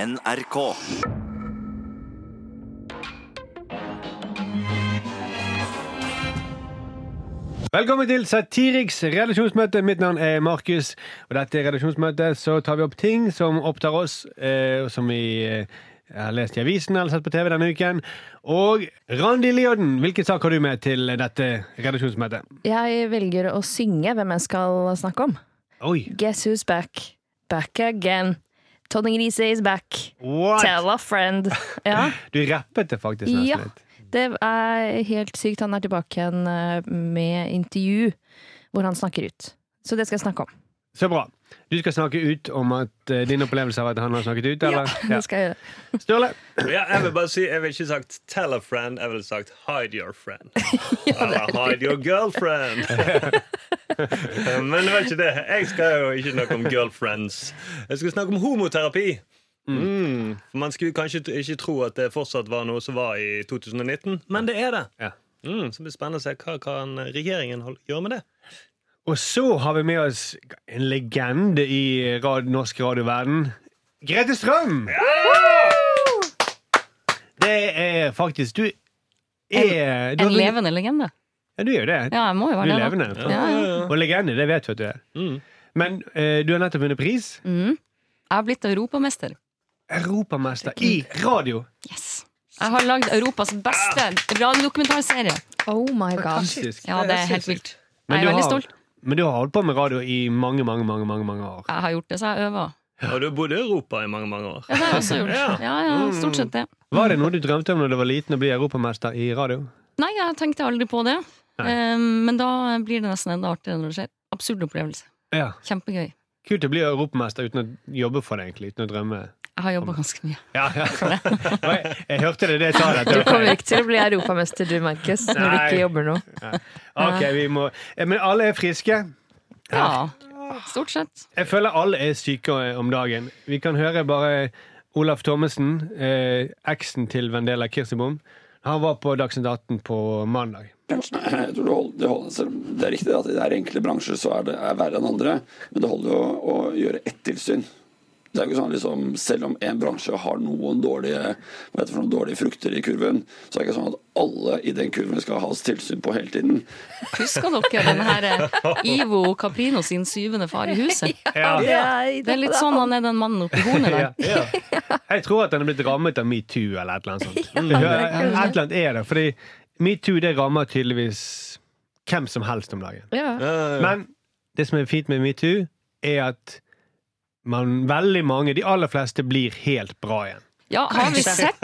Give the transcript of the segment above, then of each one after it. NRK. Velkommen til Satiriks redaksjonsmøte. Mitt navn er Markus. Og dette redaksjonsmøtet så tar vi opp ting som opptar oss, eh, og som vi eh, har lest i avisen eller sett på TV denne uken. Og Randi Lioden, hvilken sak har du med til dette redaksjonsmøtet? Jeg velger å synge hvem jeg skal snakke om. Oi! Guess who's back? Back again. Tonje Grise is back. What? Tell a friend. Ja, Du rappet det faktisk nesten ja. litt. Det er helt sykt. Han er tilbake igjen eh, med intervju hvor han snakker ut. Så det skal jeg snakke om. Så bra. Du skal snakke ut om at eh, din opplevelse av at han har snakket ut, eller? Det skal jeg gjøre. Sturle? Ja, jeg vil bare si, jeg vil ikke sagt 'tell a friend', jeg ville sagt 'hide your friend'. Eller 'hide your girlfriend'. Men det var ikke det. Jeg skal jo ikke snakke om girlfriends. Jeg skal snakke om homoterapi. Mm. For Man skulle kanskje t- ikke tro at det fortsatt var noe som var i 2019, men det er det. Ja. Mm, så det blir spennende å se hva kan regjeringen hold- gjøre med det. Og så har vi med oss en legende i rad, norsk radioverden. Grete Strøm! Det er faktisk Du er du En har- levende legende. Ja, du er jo det. Ja, jeg må jo Du være er det. da. levende. Ja, ja. Og legende, det vet vi at du er. Mm. Men eh, du har nettopp vunnet pris. Mm. Jeg har blitt europamester. Europamester i radio! Yes. Jeg har lagd Europas beste radiodokumentarserie. Oh my god. Fantastisk. Ja, det er helt vilt. Men Jeg du er veldig har- stolt. Men du har holdt på med radio i mange, mange, mange, mange, mange år. Jeg har gjort det, så jeg øver. Og du har bodd i Europa i mange, mange år. Ja, det har jeg også gjort. Ja. Ja, ja, Mm. stort sett det. Var det noe du drømte om da du var liten, å bli europamester i radio? Nei, jeg tenkte aldri på det. Nei. Eh, Men da blir det nesten enda artigere når det skjer. Absurd opplevelse. Ja. Kjempegøy. Kult å bli europamester uten å jobbe for det, egentlig. Uten å drømme. Jeg har jobba ganske mye. Ja, ja. Oi, Jeg hørte det, det jeg sa det. Du kommer ikke til å bli europamester, du, Markus, når du Nei. ikke jobber nå. Ok, vi må Eh, Men alle er friske. Ja, stort sett. Jeg føler alle er syke eh, om dagen. Vi kan høre bare Olaf Thommessen, eh, eksen til Vendela Kirsebom. Han var på Dagsnytt 18 på mandag. bransjen er- jeg tror det hold- det holder, selv om det er riktig at i det er enkelte bransjer så er det er verre enn andre, men det holder jo å, å gjøre ett tilsyn. Det er jo ikke sånn liksom, Selv om en bransje har noen dårlige, hva heter det for noen dårlige frukter i kurven, så er det ikke sånn at alle i den kurven skal ha tilsyn på hele tiden. Husker dere den her eh, Ivo Caprino sin syvende far i huset? Det er litt sånn han er den mannen oppi hornet der. Ja, ja. Jeg tror at han er blitt rammet av metoo eller et eller annet sånt. Det hører- et eller annet er det, fordi metoo det rammer tydeligvis hvem som helst om dagen. Ja. Men Eh, det som er fint med metoo, er at man, veldig mange, de aller fleste, blir helt bra igjen. Ja, har vi sett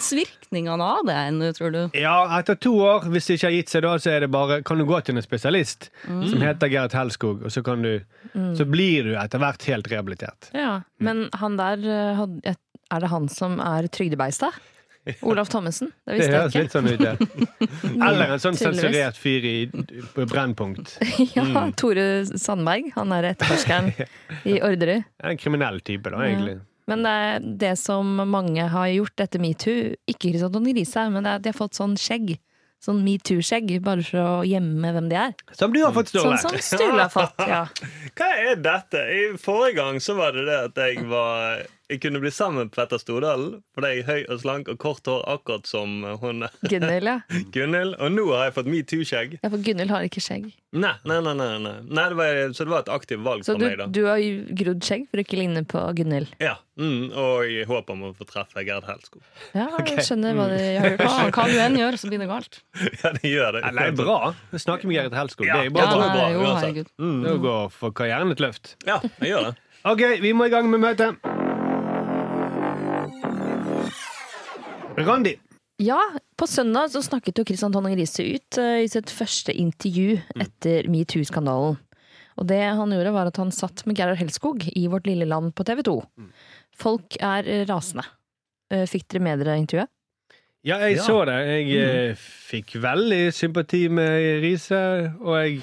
langtidsvirkningene av det ennå, tror du? Ja, etter to år, hvis det ikke har gitt seg da, så er det bare Kan du gå til en spesialist som heter Gerhard Helskog, og så kan du Så blir du etter hvert helt rehabilitert. Ja, men han der eh, had- Er det han som er trygdebeista? Olaf Thommessen? Det Det visste høres jeg litt ikke. sånn ut, ja. Eller en sånn Tydeligvis. sensurert fyr i på Brennpunkt. Ja, Tore Sandberg. Han er etterforskeren i Orderud. En kriminell type, da, egentlig. Men det er det som mange har gjort etter metoo Ikke Kristian Grise, men det er at de har fått sånn skjegg. Sånn metoo-skjegg, bare for å gjemme hvem de er. Mm. Som du har fått, Sturle. Sånn som Sturle har fått. Ja. Hva er dette? I forrige gang så var det det at jeg var Jeg kunne bli sammen med Petter Stordalen fordi jeg er høy og slank og kort hår, akkurat som hun Gunhild, ja. Gunhild. Og nå har jeg fått metoo-skjegg. ja. For Gunhild har ikke skjegg. Nei, nei, nei, nei, nei. nei det var, Så det var et aktivt valg Så for du, meg, da. du har jo grodd skjegg for å ikke ligne på Gunhild. Ja, mm, Og i håp om å få treffe Gerd Helskog. Ja, jeg skjønner hva de har gjort. Hva, hva du enn gjør, så blir det galt. Ja, det gjør det. Ja, Nei, bra. Snakke med Gerhard Helskog. Ja, Det er ja, bare det bra. er bra, jo, uansett. herregud. Mm. Det går for karrieren et løft. Ja, jeg gjør det. Ok, vi må i gang med møtet. Randi. Ja, på søndag så snakket jo Christian Tonning Riise ut eh, i sitt første intervju etter metoo-skandalen. Og det han gjorde var at han satt med Gerhard Helskog i Vårt lille land på TV 2. Folk er eh, rasende. Eh, Fikk dere med dere intervjuet? Ja, jeg Ja. så det. Jeg eh, fikk veldig sympati med Riise, og jeg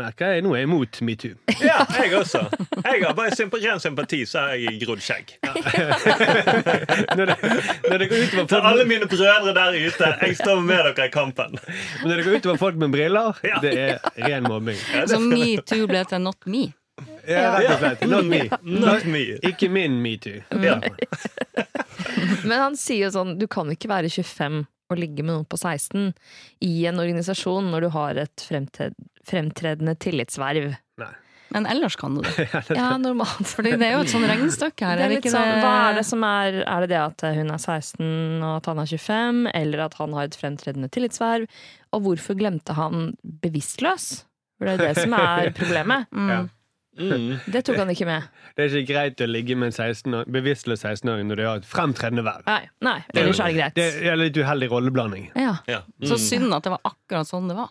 merker jeg nå er imot metoo. Ja, jeg også. Jeg har bare sympa ren sympati, så har jeg grodd skjegg. Når, det- når det går utover Til folk, alle mine brødre der ute, jeg står med dere i kampen. men når det går utover folk med briller, Ja. det er ren mobbing. Så metoo ble til not me. Ja, rett og slett. Not me. Not me. Ikke min metoo. Ja. Men han sier jo sånn, du kan ikke være 25 og ligge med noen på 16 i en organisasjon når du har et fremtred, fremtredende tillitsverv. Nei. Men ellers kan du det. Ja, normalt. Fordi det er jo et sånn regnestykke her. Det er det litt ikke sånn, hva er det som er Er det det at hun er 16 og at han er 25, eller at han har et fremtredende tillitsverv? Og hvorfor glemte han bevisstløs? For det er jo det som er problemet. Ja. Mm. Det tok han ikke med. Det er ikke greit å ligge med en 16 år, bevisstløs 16-åring når du har et fremtredende verv. Nei, nei ellers er det greit. Det er litt uheldig rolleblanding. Ja. Ja. Mm. Så synd at det var akkurat sånn det var.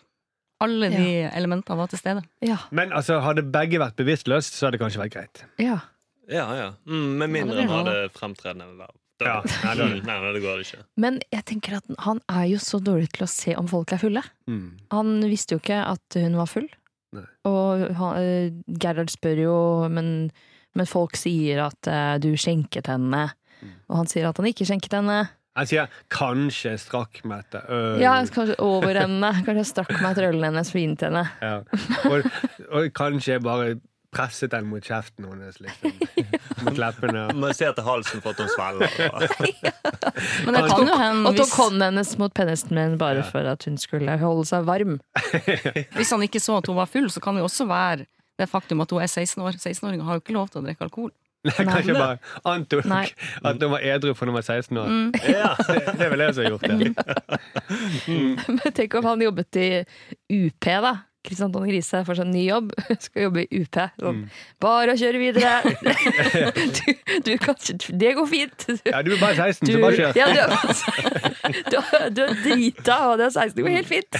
Alle de elementene var til stede. Ja. Men altså, hadde begge vært bevisstløst, så hadde det kanskje vært greit. ja. Ja, ja. Mm, med Ja, mindre det han blir hadde fremtredende verv. Da- Ja, nei, da- Mm, nei, nei, det går ikke. Men jeg tenker at han er jo så dårlig til å se om folk er fulle. Mm. Han visste jo ikke at hun var full. Nei. Og han, eh, Gerhard spør jo, men, men folk sier at eh, du skjenket henne. Mm. Og han sier at han ikke skjenket henne. Han sier 'kanskje strakk meg etter øl'. Ja, kanskje over henne. Kanskje jeg strakk meg etter ølen hennes for inn til henne. Ja. Og, og kanskje jeg bare presset den mot kjeften hennes, liksom. Mot leppene. Man ser til halsen for at hun svelger. Men det kan jo Mm, hende, Og tok hvis, hånden hennes mot pennesten min bare for at hun skulle holde seg varm. hvis han ikke så at hun var full, så kan det jo også være det faktum at hun er 16 år. 16-åringer har jo ikke lov til å drikke alkohol. Nei, kanskje bare antok Nei. Mm. at hun var edru for hun var 16 år. Ja. Det, det er vel jeg som har gjort det. Men tenk om han jobbet i UP, da. Kristian Tonne Grise får seg en ny jobb, skal jobbe i UP. Mm. Sånn. Bare å kjøre videre! Du, du kan ikke Det går fint! Ja, du er bare 16, Du, så bare kjør. ja, du, er- du, er- du er drita, og det er 16, det går helt fint!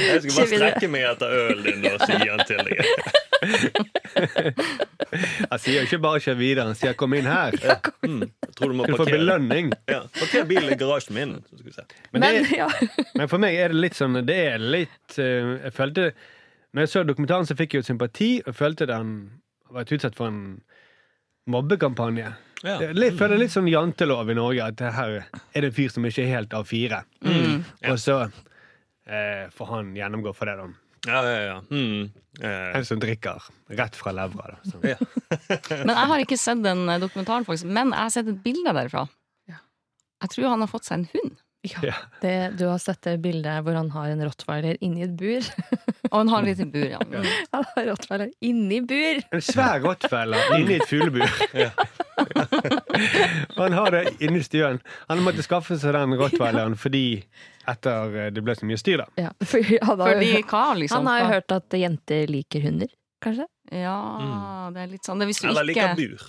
Jeg skal bare Ikke videre. strekke meg etter ølen din og si han til deg. Han sier jo ikke bare 'kjør videre', han sier 'kom inn her'. Mm. Jeg tror du må Du får parkere. belønning. Ja. Parker bilen i garasjen min. Så skal vi se. Men, Men, det, ja. men for meg er det litt sånn Det er litt eh, Jeg følte Når jeg så dokumentaren, så fikk jeg jo sympati, og følte den har vært utsatt for en mobbekampanje. Ja. Det er litt, føler litt sånn jantelov i Norge, at her er det en fyr som ikke er helt av fire. Mm. Og så eh, får han gjennomgå for det, da. Ja, ja, ja. Mm. Eh, En som drikker rett fra levra. Da. Så. ja. Men jeg har ikke sett den eh, dokumentaren, faktisk. Men jeg har sett et bilde derfra. Jeg tror han har fått seg en hund. Ja. Det, du har sett det bildet hvor han har en rottweiler inni et bur. Og han har et lite bur, ja. Mm. Han har rottweiler inni bur! En svær rottfelle inni et fuglebur. Og han har det inni stuen. Han måtte skaffe seg den rottweileren fordi etter eh, det ble så mye styr, da. Ja, for han, har, Fordi hva, liksom? han har jo Hva? hørt at jenter liker hunder, kanskje? Ja, det er litt sånn det, er Hvis du Eller ikke liker bur.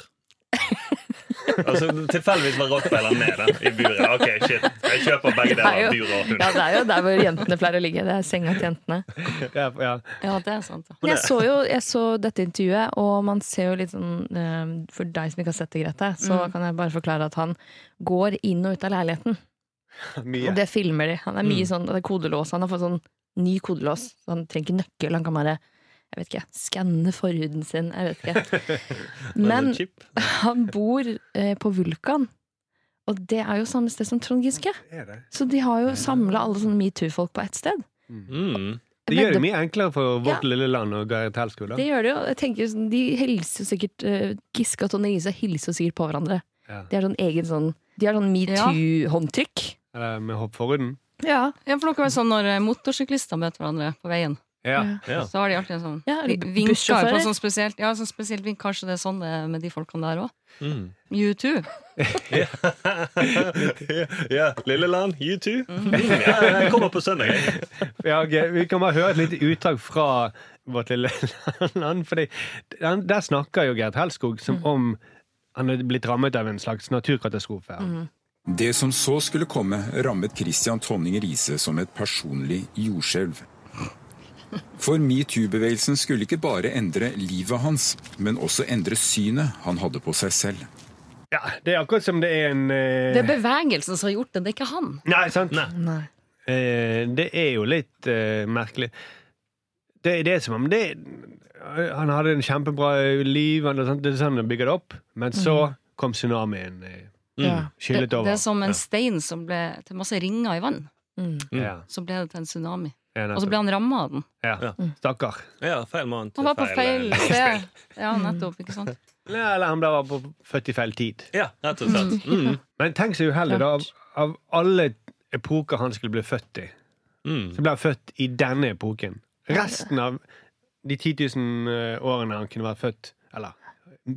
Altså, Tilfeldigvis var rottweileren med da, i buret. Ok, shit. Jeg kjøper begge Det er jo- deler. Bur og hund. Ja, det er jo der hvor jentene pleier å ligge. Det er senga til jentene. Ja, ja. Ja, det er sant. ja. Jeg så jo jeg så dette intervjuet, og man ser jo litt sånn eh, For deg som ikke har sett det, Grete, så kan jeg bare forklare at han går inn og ut av leiligheten. Mye. Og det filmer de. Han er mye sånn, det er kodelås. Han har fått sånn ny kodelås, så han trenger ikke nøkkel. Han kan bare jeg vet ikke, skanne forhuden sin. Jeg vet ikke. Men Chip. han bor eh, på Vulkan, og det er jo samme sted som Trond Giske. Er det? Så de har jo samla alle sånne metoo-folk på ett sted. Mm. Det gjør det mye enklere for vårt lille land og Gareth Helskog. da. Det gjør det jo. Jeg tenker, jo sånn, de hilser jo sikkert eh, Giske og Tonje Riise hilser jo sikkert på hverandre. Ja. De har sånn egen sånn De har sånn metoo-håndtrykk. Eller med hopp forhuden. Ja. Ja, for dere er sånn når eh, motorsyklister møter hverandre på veien, Ja. Ja. så har de alltid en sånn Ja, vi- bu- vinker på bussjåfører. sånn spesielt Ja, sånn spesielt vink. Kanskje det er sånn det er med de folkene der òg. Mm. You too. ja, Lilleland, you too. Mm, Ja, jeg kommer på søndag. jeg. Ja, ok. Vi kan bare høre et lite utdrag fra vårt lille land. Fordi han- der snakker jo Gerd Helskog som Mm. om han er blitt rammet av en slags naturkatastrofe. Mm. Det som så skulle komme, rammet Christian Tonning Riise som et personlig jordskjelv. For metoo-bevegelsen skulle ikke bare endre livet hans, men også endre synet han hadde på seg selv. Ja, Det er akkurat som det er en eh, Det er bevegelsen som har gjort det, det er ikke han. Nei, sant? sånn- Nei. Eh, det er jo litt eh, merkelig. Det, det er som om det Han hadde en kjempebra liv, han, det er sånn han bygger det opp, men så Mm. kom tsunamien. eh, Ja. Det, Skyllet det sånn. over. Mm. er som en stein som ble til masse ringer i vann. Ja. Så ble det til en tsunami. Ja, Og så ble han Mm. ramma av den. Mm. Ja. Stakkar. Ja, feil mann. til Han var på feil eh, sted. Ja, nettopp, ikke sant? Ja, Eller han ble bare på født i feil tid. Ja, rett og slett. Mm. Men tenk så uheldig, da. Av, av alle epoker han skulle bli født i, Mm. så ble han født i denne epoken. Resten av de 10 000 årene han kunne vært født, eller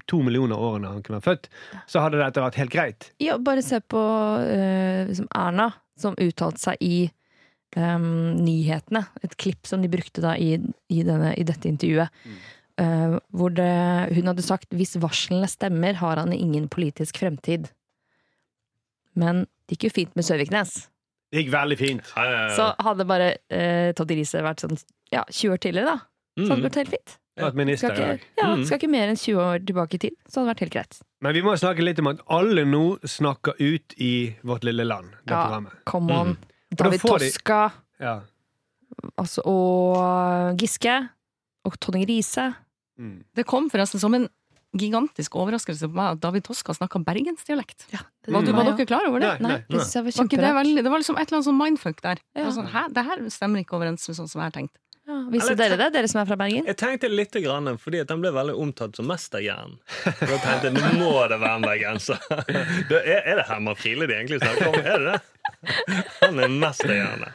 to millioner årene han kunne vært født, så hadde dette vært helt greit. Ja, bare se på eh, liksom Erna, som uttalte seg i em, nyhetene. Et klipp som de brukte da i, i, denne, i dette intervjuet. Mm. Eh, hvor det, hun hadde sagt 'hvis varslene stemmer, har han ingen politisk fremtid'. Men det gikk jo fint med Søviknes. Det gikk veldig fint. Ja, ja, ja. Så hadde bare uh, Todd Riise vært sånn ja, 20 år tidligere, da, så hadde det Mm. gått helt fint. Vært Skal minister i dag. ikke, ja, skal ikke mer enn 20 år tilbake i tid, så hadde det vært helt greit. Men vi må snakke litt om at alle nå snakker ut i Vårt lille land, det Ja. programmet. Come on. Mm. da David får de- Toska. Ja. altså, og Giske og Tonje Riise. Mm. Det kom forresten som en gigantisk overraskelse på meg at David Toska snakka bergensdialekt. Var, du- var dere klar over det? Mm. Nei, Nei, det synes jeg var Var ikke det, kjemperart. veldig, det var liksom et eller annet sånn mindfuck der. Det var Ja. Sånn, Hæ, det her stemmer ikke overens med sånn som jeg har tenkt. Ja, visste Eller- dere det, dere som er fra Bergen? Jeg tenkte litt, grann, fordi at han ble veldig omtalt som mesterhjernen. Da tenkte jeg nå må det være en bergenser. Da Er, er det Herman Friele de egentlig snakker om? Er det det? Han er mesterhjerne.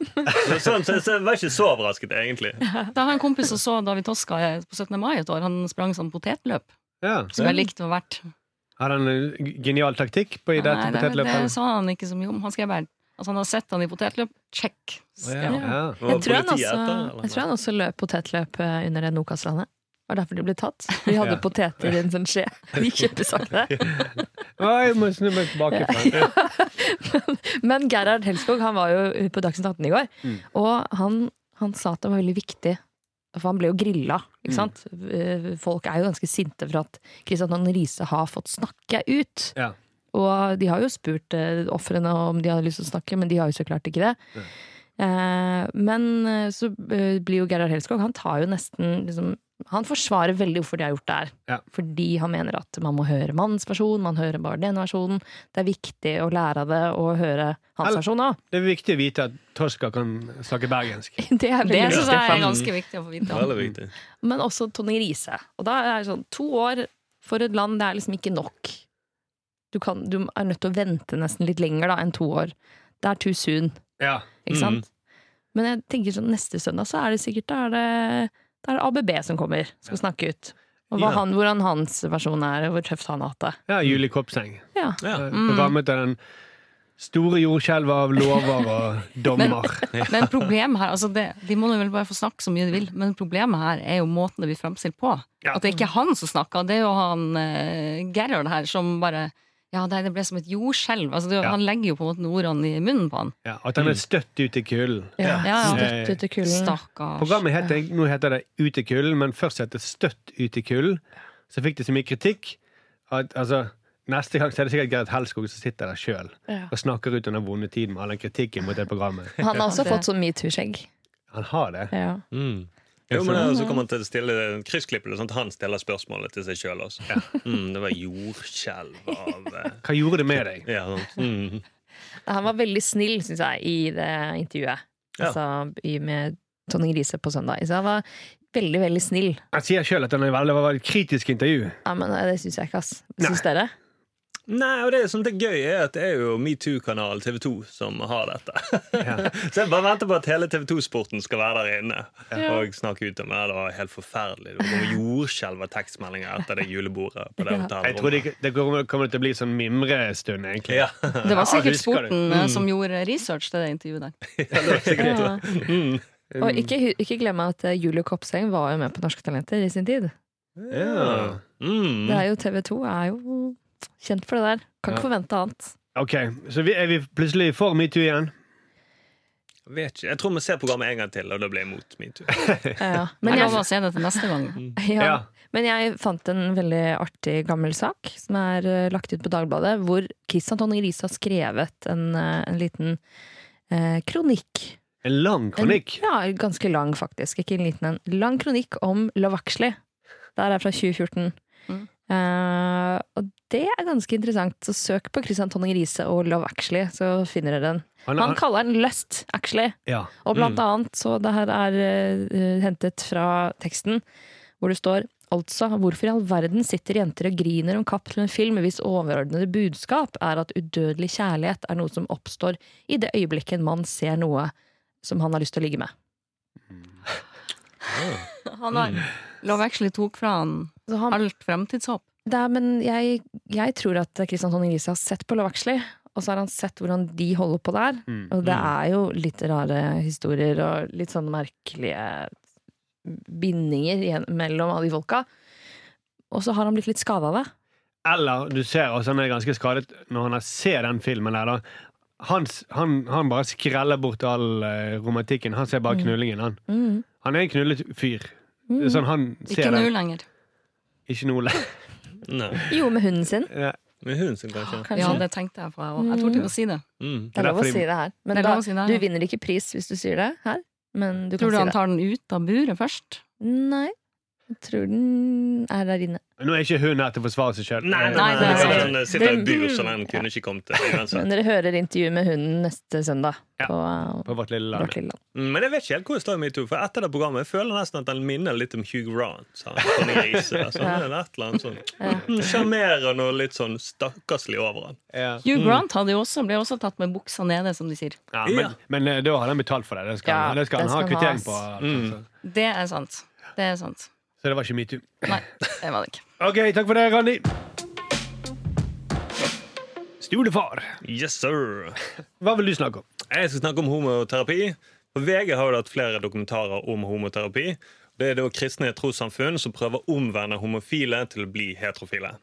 Så Sånn, så jeg- så jeg var ikke så overrasket, egentlig. Da har en kompis som så David Toska på 17. mai et år, han sprang sånn potetløp. Ja. Som jeg likte var verdt. Har han en genial taktikk på i dette Nei, det, det potetløpet? sa han ikke så mye om. Han skrev bare Altså, han har sett han i potetløp. Check. Å, Ja. Ja. Ja. Var Jeg tror, han politiet også, etter, eller? jeg tror han også løp potetløp eh, under Nokas-landet. Det var derfor de ble tatt. De hadde Ja. poteter i en sånn skje. De gikk kjempesakte. Å, jeg må snu meg tilbake. fra den. Men Gerhard Helskog han var jo på Dagsnytt 18 i går, Mm. og han, han sa at det var veldig viktig. For han ble jo grilla, Mm. ikke sant. Eh, Folk er jo ganske sinte for at Kristian Tonje Riise har fått snakke ut. Ja. Og de har jo spurt eh, ofrene om de hadde lyst til å snakke, men de har jo så klart ikke det. Eh, men eh, så eh, blir jo Gerhard Helskog Han tar jo nesten liksom, Han forsvarer veldig hvorfor de har gjort det her. Ja. Fordi han mener at man må høre mannens versjon, man hører bare den versjonen. Det er viktig å lære av det og høre hans Eller- versjon òg. Det er viktig å vite at Toska kan snakke bergensk. Det er Det veldig syns viktig. jeg er ganske viktig å få vite. om. Veldig viktig. Men også Tonje Riise. Og da er det sånn To år for et land, det er liksom ikke nok. Du, kan, du er nødt til å vente nesten litt lenger da enn to år. Det er too soon. Ja. Ikke sant? Men jeg tenker sånn, neste søndag så er det sikkert da er det, da er det ABB som kommer, skal snakke ut. Og hva Ja. han, hvordan hans versjon er, og hvor tøft han har hatt det. ja Julie Kopseng. Ja. Ja. Mm. Rammet av den store jordskjelvet av lover og dommer. Men problemet her, altså det, De må jo vel bare få snakke så mye de vil, men problemet her er jo måten det blir fremstilt på. Ja. At det ikke er han som snakker, det er jo han eh, Gerhard her som bare Ja, nei, det ble som et jordskjelv. Altså, det, er jo- Ja. Han legger jo på en måte ordene i munnen på han. Ja, at han er støtt ut i kulden. Ja. Ja, ja. Støtt ut i kulden. Stakkars. Programmet heter, nå heter det Ut i kulden, men først het det Støtt ut i kulden. Så fikk det så mye kritikk at altså, neste gang så er det sikkert Gerhard Helskog som sitter der sjøl Ja. og snakker ut om den vonde tiden med all den kritikken mot det programmet. Han har også Det- fått sånn metoo-skjegg. Han har det. Ja. Mm. Jo, men det, så kommer han til å stille kryssklippet, sånn at han stiller spørsmålet til seg sjøl også. Mm, det var jordskjelv av eh, Hva gjorde det med deg? Ja. Mm. Han var veldig snill, syns jeg, i det intervjuet. Ja. Altså i- med Tonje Riise på søndag. Så han var veldig, veldig snill. Han sier sjøl at han er veldig, veldig kritisk intervju. Ja, men eh, det syns jeg ikke, ass. Syns dere? Nei, og det som er gøy, er at det er jo metoo-kanalen TV2 som har dette. så jeg bare venter på at hele TV2-sporten skal være der inne og snakke ut om det. Det var helt forferdelig. Det var jordskjelv av tekstmeldinger etter det julebordet. på det Jeg tror det, hotellrommet. det kommer kommer til å bli sånn mimrestund, egentlig. Ja, Det Ja, var sikkert husker Mm. du. sporten eh, som gjorde research til det intervjuet der. Ja. Mm. Og ikke, hu- ikke glem at eh, Julie Kopseng var jo med på Norske Talenter i sin tid. Ja. Det mm. er jo TV 2 er jo kjent for det der. Kan ikke Ja. forvente annet. Ok, så vi, er vi plutselig for metoo igjen? Jeg Vet ikke. Jeg tror vi ser programmet en gang til, og da blir jeg imot metoo. Ja. Men, Men jeg lover jeg, å se det til neste gang. sånn? Ja. ja. Men jeg fant en veldig artig gammel sak som er eh, lagt ut på Dagbladet, hvor Christian Tonje Riise har skrevet en, eh, en liten eh, kronikk. En lang kronikk. En, ja, ganske lang, faktisk. Ikke en liten en. Lang kronikk om Lavaksli. Der er fra 2014. Mm. Eh, og det er ganske interessant. Så søk på Christian Tonning Riise og Love Actually, så finner dere den. Han- Han han- kaller den Lust Actually, Ja. og blant annet, så det her er eh, hentet fra teksten, hvor det står Altså, hvorfor i all verden sitter jenter og griner om kapp til en film hvis overordnede budskap er at udødelig kjærlighet er noe som oppstår i det øyeblikket en mann ser noe som han har lyst til å ligge med? Han har Mm. Love Actually tok fra han Så han alt fremtidshåp. Det er, men jeg, jeg tror at Kristian Tonning Riise har sett på Love Actually, og så har han sett hvordan de holder på der. Mm. Og det er jo litt rare historier og litt sånn merkelige bindinger igjen- mellom alle de folka. Og så har han blitt litt skada av det. Eller du ser også han er ganske skadet når han har- ser den filmen her, da. Han, s- han, han bare skreller bort all eh, romantikken. Han ser bare knullingen, han. Mm. Han er en knullet fyr. Det er Sånn han ser Ikke nå den. lenger. Ikke nå lenger. Nei. Jo, med hunden sin. Ja. Med hunden sin, kanskje. Kanskje. Ja, det tenkte jeg på. jeg også. Jeg torde ikke å si det. Mm. det er lov å Derfor- si det her. Men Det er da, lov å si det her, du ja. vinner ikke pris hvis du sier det her. Men du kan Tror du si han det. tar den ut av buret først? Nei. Jeg tror den er der inne. Nå er ikke hun her til å forsvare seg liksom, sjøl. Nei, nei, Nei, nei, det er nei, sant. Han eh, sitter i et bur, Det- så han kunne ikke kommet til uansett. Men dere hører intervjuet med hunden neste søndag Ja. på uh, På vårt lille land. Vårt Lille Land. Mm, Men jeg vet ikke helt hvor det står i metoo. For etter det programmet jeg føler nesten at den minner litt om Hugh Grant. sa han, Sånn grise, der, sånn, Ja. eller et eller annet sånn Ja. Mm, Sjarmerende og litt sånn stakkarslig over han. Ja. Hugh Grant hadde jo også, ble også tatt med buksa nede, som de sier. Ja, men, men eh, da har han betalt for det. Det skal, Ja, han- det skal det han ha skal han kvittering på. ha, altså. Det er sant. Det er sant. Så det var ikke metoo. Nei, det var det ikke. OK, takk for det, Randi. Stulefar. Yes, sir! Hva vil du snakke om? Jeg skal snakke om homoterapi. På VG har jo hatt flere dokumentarer om homoterapi. Det er da kristne trossamfunn som prøver å omvende homofile til å bli heterofile.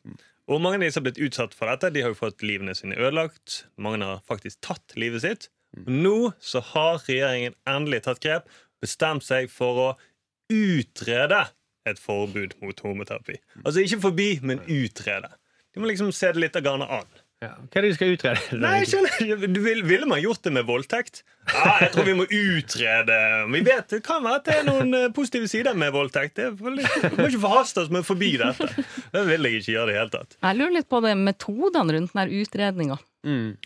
Og Mange av de som har blitt utsatt for dette, de har jo fått livene sine ødelagt. Mange har faktisk tatt livet sitt. Og nå så har regjeringen endelig tatt grep, bestemt seg for å utrede et forbud mot homoterapi. Altså ikke forby, men utrede. De må liksom se det litt av garnet an. Ja. Hva er det du skal utrede? Nei, jeg skjønner du, vil, Ville man gjort det med voldtekt? Ja, jeg tror vi må utrede Vi vet, Det kan være at det er noen eh, positive sider med voldtekt. Det er vel- Vi må ikke forhaste oss med å forby dette. Det vil jeg ikke gjøre i det hele tatt. Jeg lurer litt på det metodene rundt denne utredninga.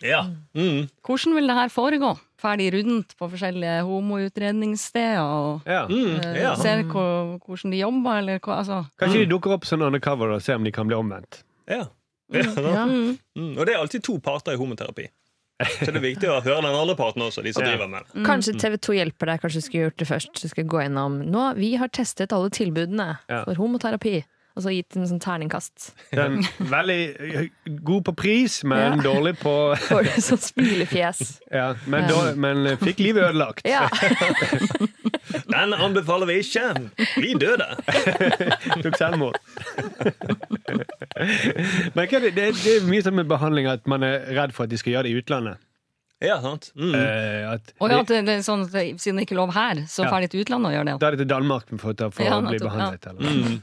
Ja. Mm. Hvordan vil det her foregå? Ferdig rundt på forskjellige homoutredningssteder og Ja. Mm. eh, Ja. ser hvor, hvordan de jobber, eller hva altså. Kanskje de dukker opp sånn undercover og ser om de kan bli omvendt. Ja. Ja, da. Mm. Og det er alltid to parter i homoterapi. Så det er viktig å høre den andre parten også. De som driver med det. Kanskje TV 2 hjelper deg. Kanskje du skulle gjort det først. Du skal gå gjennom Nå, Vi har testet alle tilbudene Ja. for homoterapi. Og så gitt en sånn terningkast Den, veldig eh, god på pris, men Ja. dårlig på for sånn smilefjes. ja, men, dårlig, men eh, fikk livet ødelagt. Ja. Den anbefaler vi ikke! Vi døde! Tok selvmord. men hva, er det, det, det er mye sånn med behandling at man er redd for at de skal gjøre det i utlandet. Ja, sant? Mm. Eh, at, Og ja, det, det er sånn at det, siden det ikke er lov her, så Ja. ferdig til utlandet å gjøre det. Da er det til Danmark for, å- for Ja, å bli nettopp, behandlet. Eller. Mm.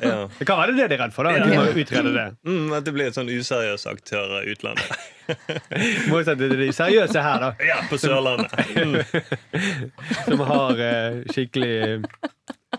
Ja. Det kan være det de er redd for. da, at de Ja. må utrede det. Mm, at det blir en sånn useriøs aktør i utlandet. Må jo sette de seriøse her, da, Ja, på Sørlandet. Mm. som har eh, skikkelig eh,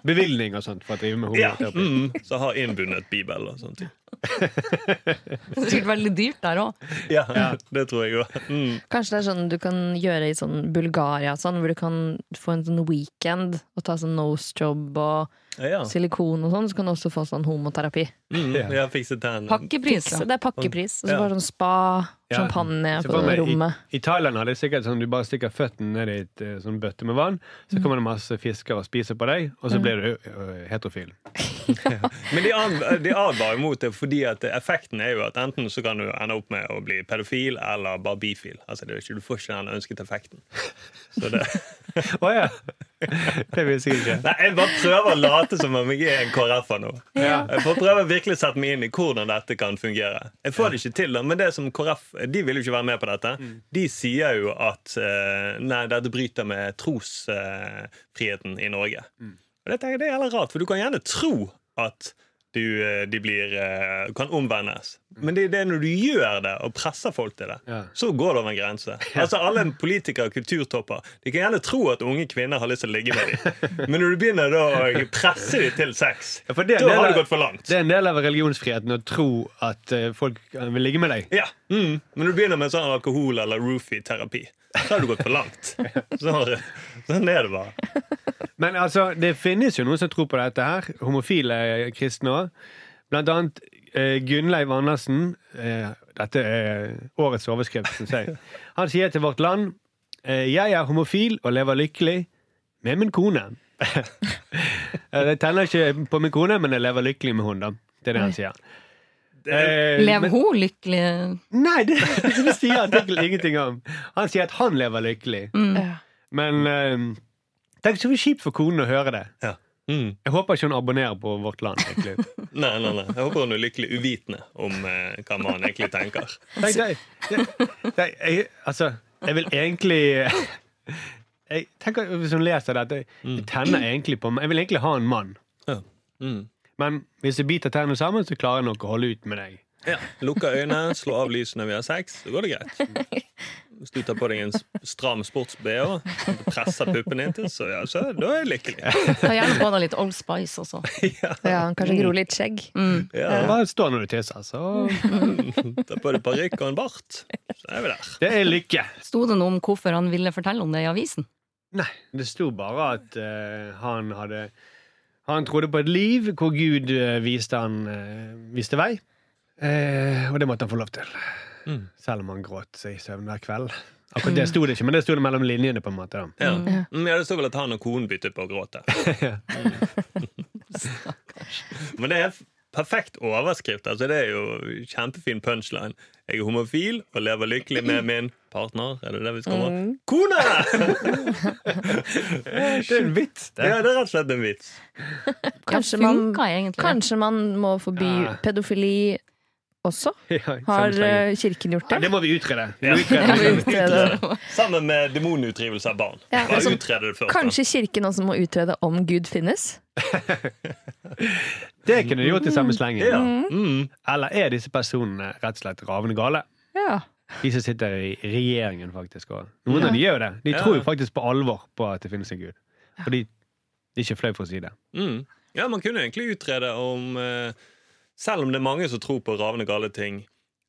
bevilgning og sånt for å drive med Ja. homoterapi. Mm. Så har innbundet bibel og sånne ting. Det er sikkert veldig dyrt der òg. Ja, Det tror jeg òg. Mm. Kanskje det er sånn du kan gjøre i sånn Bulgaria og sånn, hvor du kan få en sånn weekend og ta sånn nose job og Ja. silikon og sånn. Så kan du også få sånn homoterapi. Mm. Jeg har fikset den. Pakkepris. Så ja. det er pakkepris. Og så Ja. bare sånn spa, Ja. champagne Se på for meg, rommet. I, I Thailand har de sikkert sånn du bare stikker føttene ned i et eh, sånn bøtte med vann, så kommer det masse fisker og spiser på deg, og så blir du eh, heterofil. Men de, an, de advarer mot det fordi at effekten er jo at enten så kan du ende opp med å bli pedofil eller bare bifil. Altså, det er jo ikke, du får ikke den ønsket effekten. Så det, Å ja! Det visste jeg ikke. nei, jeg bare prøver å late som om jeg er en KrF-er nå. Ja. Jeg får prøve å virkelig sette meg inn i hvordan dette kan fungere. Jeg får det ikke til, da, men det som KrF De vil jo ikke være med på dette. De sier jo at eh, nei, dette bryter med trosfriheten i Norge. Og det tenker jeg det er heller rart, for du kan gjerne tro at du, eh, de blir, eh, kan omvendes. Men det, det er når du gjør det og presser folk til det, Mm. Ja. så går det over en grense. Altså Alle politikere og kulturtopper De kan gjerne tro at unge kvinner har lyst til å ligge med dem. Men når du begynner da å presse dem til sex, Ja, for det er en da del har av- det gått for langt. Det er en del av religionsfriheten å tro at eh, folk vil ligge med deg. Ja, mm. Men når du begynner med sånn alkohol- eller roofie-terapi, så har du gått for langt. Så, sånn er det bare. Men altså, det finnes jo noen som tror på dette her. Homofile kristne òg. Blant annet eh, Gunnleiv Andersen. Eh, dette er årets overskrift, syns jeg. Han sier til Vårt Land eh, Jeg er homofil og lever lykkelig med min kone. Eh, jeg tenner ikke på min kone, men jeg lever lykkelig med hun da. Det er det han sier. Eh, Lever men- hun lykkelig? Nei, det, det sier artikkelen ingenting om. Han sier at han lever lykkelig. Ja. Men eh, tenk så kjipt for konen å høre det. Ja. Mm. Jeg håper ikke hun abonnerer på Vårt Land. egentlig. Nei, nei, nei. Jeg håper hun er lykkelig uvitende om eh, hva man egentlig tenker. Tenk deg, det- det- jeg, altså, jeg vil egentlig jeg tenker, Hvis hun leser dette Jeg tenner egentlig på Jeg vil egentlig ha en mann. Ja. Mm. Men hvis jeg biter tennene sammen, så klarer jeg nok å holde ut med deg. Ja. Lukke øynene, slå av lysene vi har sex, så går det greit. Hvis du tar på deg en s- stram sports-BH, presser puppen inntil, så, ja, så da er jeg lykkelig. Ta gjerne på deg litt Old Spice også. Mm. ja, Kanskje gro litt skjegg. Ja. Bare stå når du tisser, så Ta på deg parykk og en bart, så er vi der. Det er lykke. Sto det noe om hvorfor han ville fortelle om det i avisen? Nei, det sto bare at eh, han hadde Han trodde på et liv hvor Gud eh, viste han eh, viste vei. Eh, og det måtte han få lov til. Selv om han gråt seg i søvn hver kveld. Akkurat det sto det ikke, men det sto det mellom linjene. på en måte da. Ja. Mm, ja, det står vel at han og konen byttet på å gråte. Men det er f- perfekt overskrift. Altså, det er jo kjempefin punchline. Jeg er homofil og lever lykkelig med min partner. Er det det vi skal ha? Kone! Det er en vits, det. Ja, det er rett og slett en vits. Kanskje ja, man, funka egentlig. kanskje man må forby Ja. pedofili også? Ja, i Har sammenhengen. eh, kirken gjort ja, det? det må vi utrede. Vi Ja. utreder det. Utrede. Sammen med demonutdrivelse av barn. Ja, Bare altså, utrede det først. da. Kanskje kirken også må utrede om Gud finnes? Det kunne du gjort i samme Ja. slengen. Mm. Eller er disse personene rett og slett ravende gale? Ja. De som sitter i regjeringen, faktisk. Og noen av de gjør jo det. De Ja. tror jo faktisk på alvor på at det finnes en gud. Fordi de er ikke flau for å si det. Mm. ja, man kunne egentlig utrede om eh, Selv om det er mange som tror på ravende gale ting,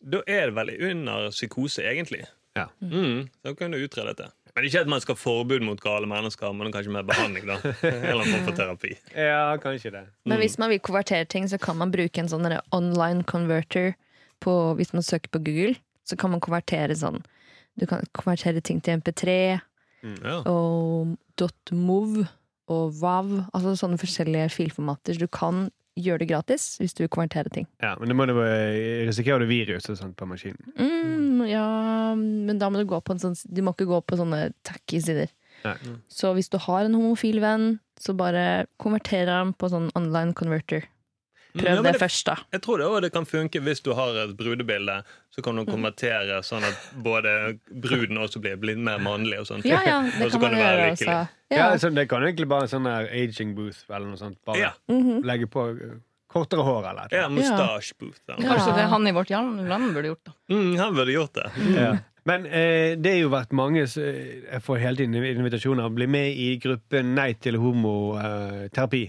da er det vel under psykose, egentlig. Ja. Mm. Så kan du utrede dette. Men ikke at man skal ha forbud mot gale mennesker, men kanskje mer behandling, da. Eller en form for terapi. Ja, kanskje det. Men hvis man vil konvertere ting, så kan man bruke en sånn derre online converter på, hvis man søker på Google. Så kan man konvertere sånn Du kan konvertere ting til MP3 Ja. og .mov og WAV. Altså sånne forskjellige filformater. Så du kan gjøre det gratis hvis du vil konvertere ting. Ja, Men da må du eh, risikere du virus og sånt på maskinen. Mm, ja, men da må du gå på en sånn Du må ikke gå på sånne tacky sider. Nei. Så hvis du har en homofil venn, så bare konverter ham på sånn online converter. Prøv Ja, men det det- først, da. Jeg tror det, også det kan funke hvis du har et brudebilde, så kan du konvertere sånn at både bruden også blir litt mer mannlig. og sånn. Ja, ja, det Og så kan man du være gjøre lykkelig. også. altså- Ja, så Det kan egentlig bare en sånn der aging booth eller noe sånt. Bare Ja. Mhm. legge på eh, kortere hår eller Ja, noe. mustache booth. eller noe. Kanskje det han i vårt land burde gjort, da. Mm, han burde gjort det. Ja. Men eh, det har jo vært mange s- eh, Jeg får hele tiden invitasjoner. Bli med i gruppen Nei til homoterapi.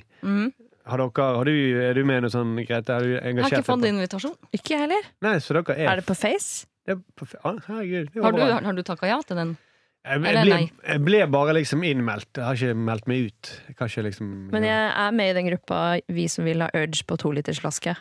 Har dere, har du, er du med i noe sånn, Grete? Har du Mhm. Jeg har engasjert ikke deg på- fått invitasjon. Ikke jeg heller. Nei, så dere er, Er det på Face? det er på, f- ah, Herregud, det var Har du, bra. har du takka ja til den? Jeg, jeg, Eller ble, nei. jeg ble bare liksom innmeldt. Jeg har ikke meldt meg ut. Jeg kan ikke liksom Men jeg er med i den gruppa vi som vil ha Urge på tolitersflaske.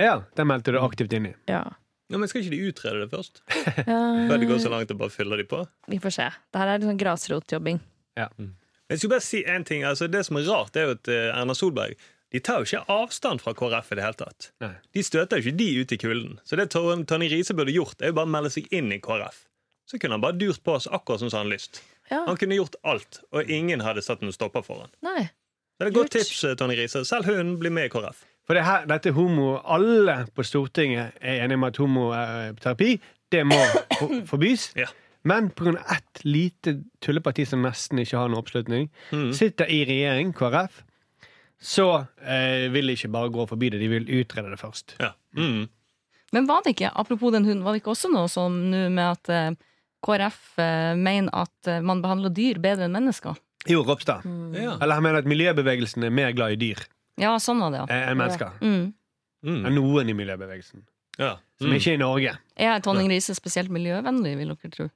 Ja, den meldte du aktivt inn i. Ja. Ja, men Skal ikke de utrede det først? Før det går så Eh, langt og bare fyller de på? vi får se. Det her er litt sånn grasrotjobbing. Jeg skulle bare si en ting, altså Det som er rart, er jo at eh, Erna Solberg de tar jo ikke avstand fra KrF. i det hele tatt. Nei. De støter jo ikke de ut i kulden. Så det Tor- Tonje Riise burde gjort, er jo bare å melde seg inn i KrF. Så kunne han bare durt på oss akkurat som han hadde lyst. Ja, Han kunne gjort alt, og ingen hadde satt noen stopper for han. nei. Så det er et godt Lurt. tips, eh, Tonje Riise. Selv hun blir med i KrF. For det her, dette homo Alle på Stortinget er enige om at homoterapi det må for- forbys. Ja. Men pga. ett lite tulleparti som nesten ikke har noen oppslutning, sitter i regjering, KrF, så eh, vil de ikke bare gå forbi det, de vil utrede det først. Ja. Mm. Men var det ikke, apropos den hunden, var det ikke også noe som nå med at eh, KrF eh, mener at eh, man behandler dyr bedre enn mennesker? Jo, Ropstad. Mm. ja. Eller han mener at miljøbevegelsen er mer glad i dyr Ja, sånn var det, ja. eh, enn mennesker. Mm. Enn Mm. noen i miljøbevegelsen. ja. Som Mm. ikke er i Norge. Er Tonning Riise spesielt miljøvennlig, vil dere tro?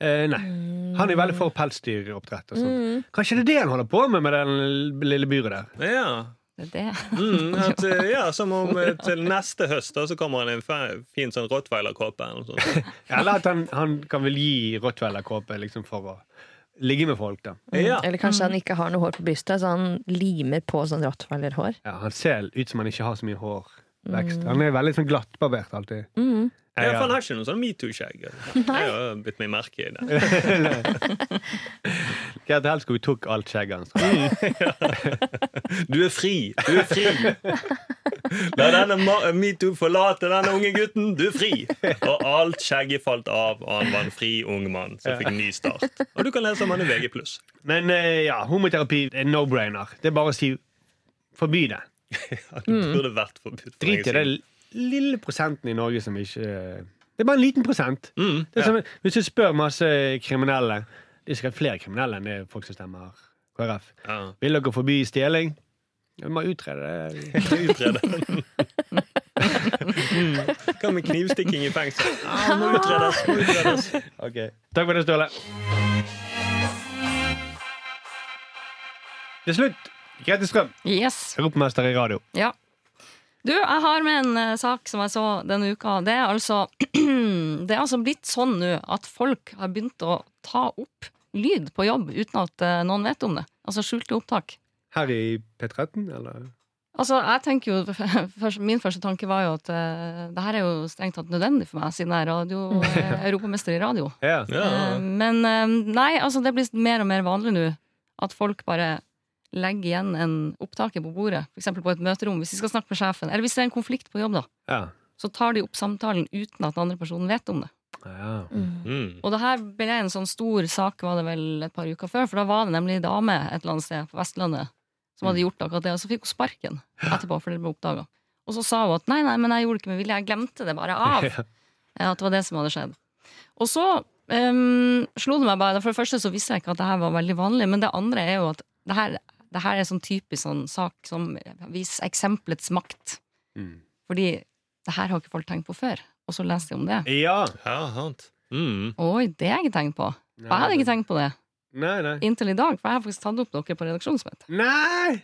Eh, nei. Han er veldig for pelsdyroppdrett og sånt. Mm. Kanskje det er det han holder på med med den lille byret der. ja. Det er det. Mm, at, eh, ja, som om eh, til neste høst da, så kommer han i en fe- fin sånn rottweilerkåpe. eller noe sånt. Eller at han, han kan vel gi rottweilerkåpe liksom for å ligge med folk, da. Ja. Eller kanskje han ikke har noe hår på brystet, så han limer på sånn rottweilerhår. Ja, han ser ut som han ikke har så mye hårvekst. Han er veldig sånn glattbarbert alltid. Mm. Ja, for han Ja, har ikke noe sånn metoo-skjegg. Jeg har bitt meg merke i det. Gerd Helskog tok alt skjegget hans. Du er fri! Du er fri! La denne ma- metoo forlate denne unge gutten. Du er fri! Og alt skjegget falt av, og han var en fri ung mann som fikk en ny start. Og du kan lese om han i VG+. Men eh, ja, homoterapi er no-brainer. Det er bare å si forby det. Ja, Det burde vært forbudt. for Drit i lenge den siden. lille prosenten i Norge som ikke eh, Det er bare en liten prosent. Mm, Det er som, hvis du spør masse kriminelle Det er sikkert flere kriminelle enn det er folk som stemmer KrF. Mm. ja. Vil dere forby stjeling? Vi må utrede det. Utrede. Mm. Hva med knivstikking i fengsel? Ah, må utredes, må utredes. Takk for det, Ståle. Til slutt, Grete Strøm, Yes. europamester i radio. Ja. Du, jeg har med en eh, sak som jeg så denne uka. Det er altså, det er altså blitt sånn nå at folk har begynt å ta opp lyd på jobb uten at eh, noen vet om det. Altså skjulte opptak. Her i P13, eller? Altså, jeg tenker jo, først, Min første tanke var jo at uh, det her er jo strengt tatt nødvendig for meg, siden jeg er radio, eh, europamester i radio. Ja. Ja. Eh, Men eh, nei, altså, det blir mer og mer vanlig nå at folk bare legger igjen en opptaket på bordet, f.eks. på et møterom, hvis de skal snakke med sjefen. Eller hvis det er en konflikt på jobb, da. ja. så tar de opp samtalen uten at den andre personen vet om det. ja. Mm. Og det her ble en sånn stor sak var det vel et par uker før, for da var det nemlig en dame et eller annet sted på Vestlandet som hadde gjort akkurat det, og så fikk hun sparken etterpå fordi det ble oppdaga. Og så sa hun at nei, nei, men jeg gjorde det ikke med vilje, jeg glemte det bare av. Eh, At det var det som hadde skjedd. Og så ehm, slo det meg bare, for det første så visste jeg ikke at det her var veldig vanlig, men det andre er jo at det her, det her er sånn typisk sånn sak som viser eksempelets makt. Mm. Fordi det her har ikke folk tenkt på før, og så leser de om det. ja. Ja, sant. Mm. Oi, det har jeg ikke tenkt på. Og jeg hadde ikke tenkt på det Nei, nei. inntil i dag, for jeg har faktisk tatt opp dere på redaksjonsmøte. Nei!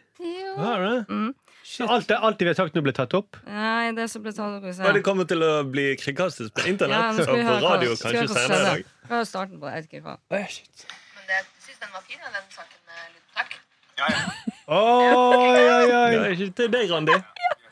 Hva er det? Mm. Shit. Alt, det- alt det vi har sagt nå, ble tatt opp. Nei, det som ble tatt opp i Og det kommer til å bli kringkastet på internett og på radio kanskje senere i dag. Hva er starten på det? Jeg vet ikke hva. Men det, jeg syns den var fin, ja, den saken med lydopptak. Oi, oi, oi. Ja, ikke til deg, Randi.